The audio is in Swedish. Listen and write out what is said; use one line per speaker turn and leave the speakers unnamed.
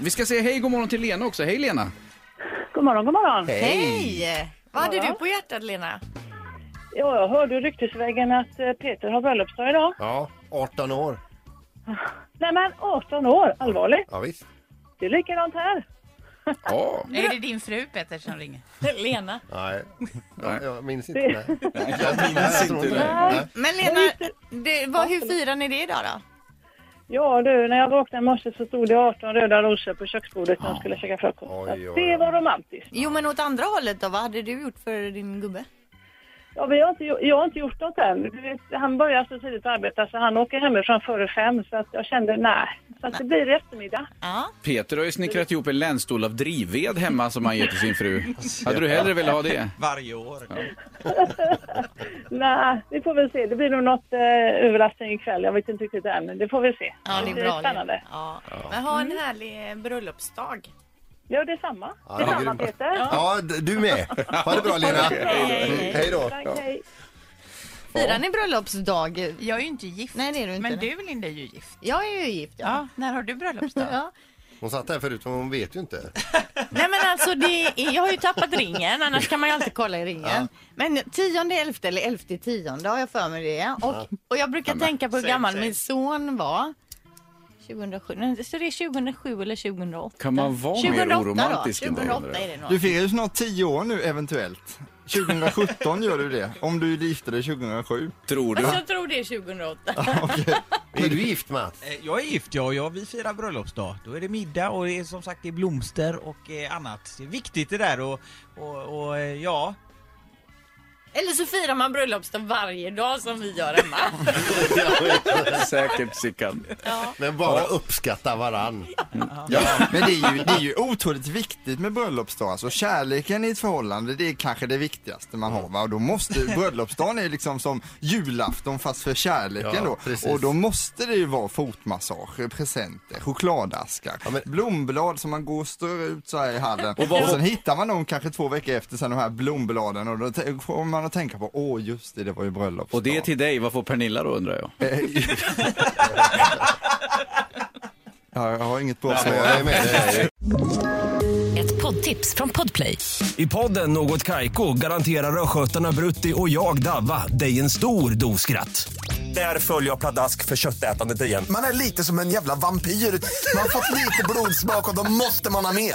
Vi ska säga hej god morgon till Lena också. Hej Lena!
God morgon, god morgon.
Hej! Vad hade du på hjärtat Lena?
Ja, jag hörde ju ryktesvägen att eh, Peter har bröllopsdag idag.
Ja, 18 år.
Nej men 18 år, allvarligt.
Ja, visst.
Det är likadant här.
Ja,
Är det din fru Peter som ringer?
Lena?
Nej,
Nej.
jag, jag minns inte. Nej. Jag
minns
tror
inte det.
Nej.
Men Lena, det, vad, hur firar ni det idag då?
Ja du, när jag vaknade i morse så stod det 18 röda rosor på köksbordet när de skulle käka frukost.
Oj, oj, oj.
Att Det var romantiskt.
Jo men åt andra hållet då, vad hade du gjort för din gubbe?
Ja, men jag, har inte, gjo- jag har inte gjort något än. Du vet, han börjar så tidigt att arbeta så han åker hemifrån före fem så att jag kände nej. Så att det blir i eftermiddag.
Ja.
Peter har ju snickrat ihop en länsstol av drivved hemma som han ger till sin fru. Hade du hellre velat ha det?
Varje år.
Nej, vi får väl se. Det blir nog något eh, överraskning ikväll. Jag vet inte riktigt än, men det får vi se.
Ja, det är
blir
bra.
spännande.
Det. Ja. Men ha
Mm.
en härlig eh, bröllopsdag.
Ja, detsamma.
Ja, det är
detsamma,
grymt.
Peter.
Ja, d- du med. Ha det bra Lena. Hej då.
Tack, hej.
Firar ni bröllopsdag?
Jag är ju inte gift.
Nej, det är du inte.
Men du Linda är ju gift.
Jag är ju gift ja.
Ja, när har du bröllopsdag?
ja.
Hon satt här förut men hon vet ju inte.
Nej men alltså det är, jag har ju tappat ringen annars kan man ju alltid kolla i ringen. Men tionde elfte eller elfte tionde har jag för mig det. Och, och jag brukar tänka på hur gammal min son var. 2007, nej, så det är 2007 eller 2008?
Kan man vara mer
2008
oromantisk
då?
än det,
2008
undrar
är
jag.
det nog.
Du firar ju snart 10 år nu eventuellt. 2017 gör du det, om du gifte dig 2007.
Tror du?
Fast jag tror det är 2008.
Är du gift Mats?
Eh, Jag är gift jag och jag, vi firar bröllopsdag. Då är det middag och det är som sagt det är blomster och eh, annat. Det är viktigt det där och, och, och eh, ja.
Eller så firar man bröllopsdag varje dag som vi gör hemma.
Säkert Sickan.
Men bara uppskatta varann.
Men det är, ju, det är ju otroligt viktigt med bröllopsdag. Alltså kärleken i ett förhållande, det är kanske det viktigaste man har. Va? Och då måste, bröllopsdagen är liksom som julafton fast för kärleken
Ja,
då.
precis.
Och då måste det ju vara fotmassager, presenter, chokladaskar,
men-
blomblad som man går och stör ut så här i hallen. Och, sen hittar man dem kanske två veckor efter sen de här blombladen och då t- kommer man att tänka på, åh just det, det var ju bröllopsdag.
Och det är till dig. Vad får Pernilla då undrar jag?
ja, jag har inget bra
Så
svar.
jag är med dig.
Ett poddtips från Podplay.
I podden Något Kaiko garanterar östgötarna Brutti och jag, Davva, dig en stor dos skratt. Där följer jag pladask för köttätandet igen.
Man är lite som en jävla vampyr. Man har fått lite blodsmak och då måste man ha mer.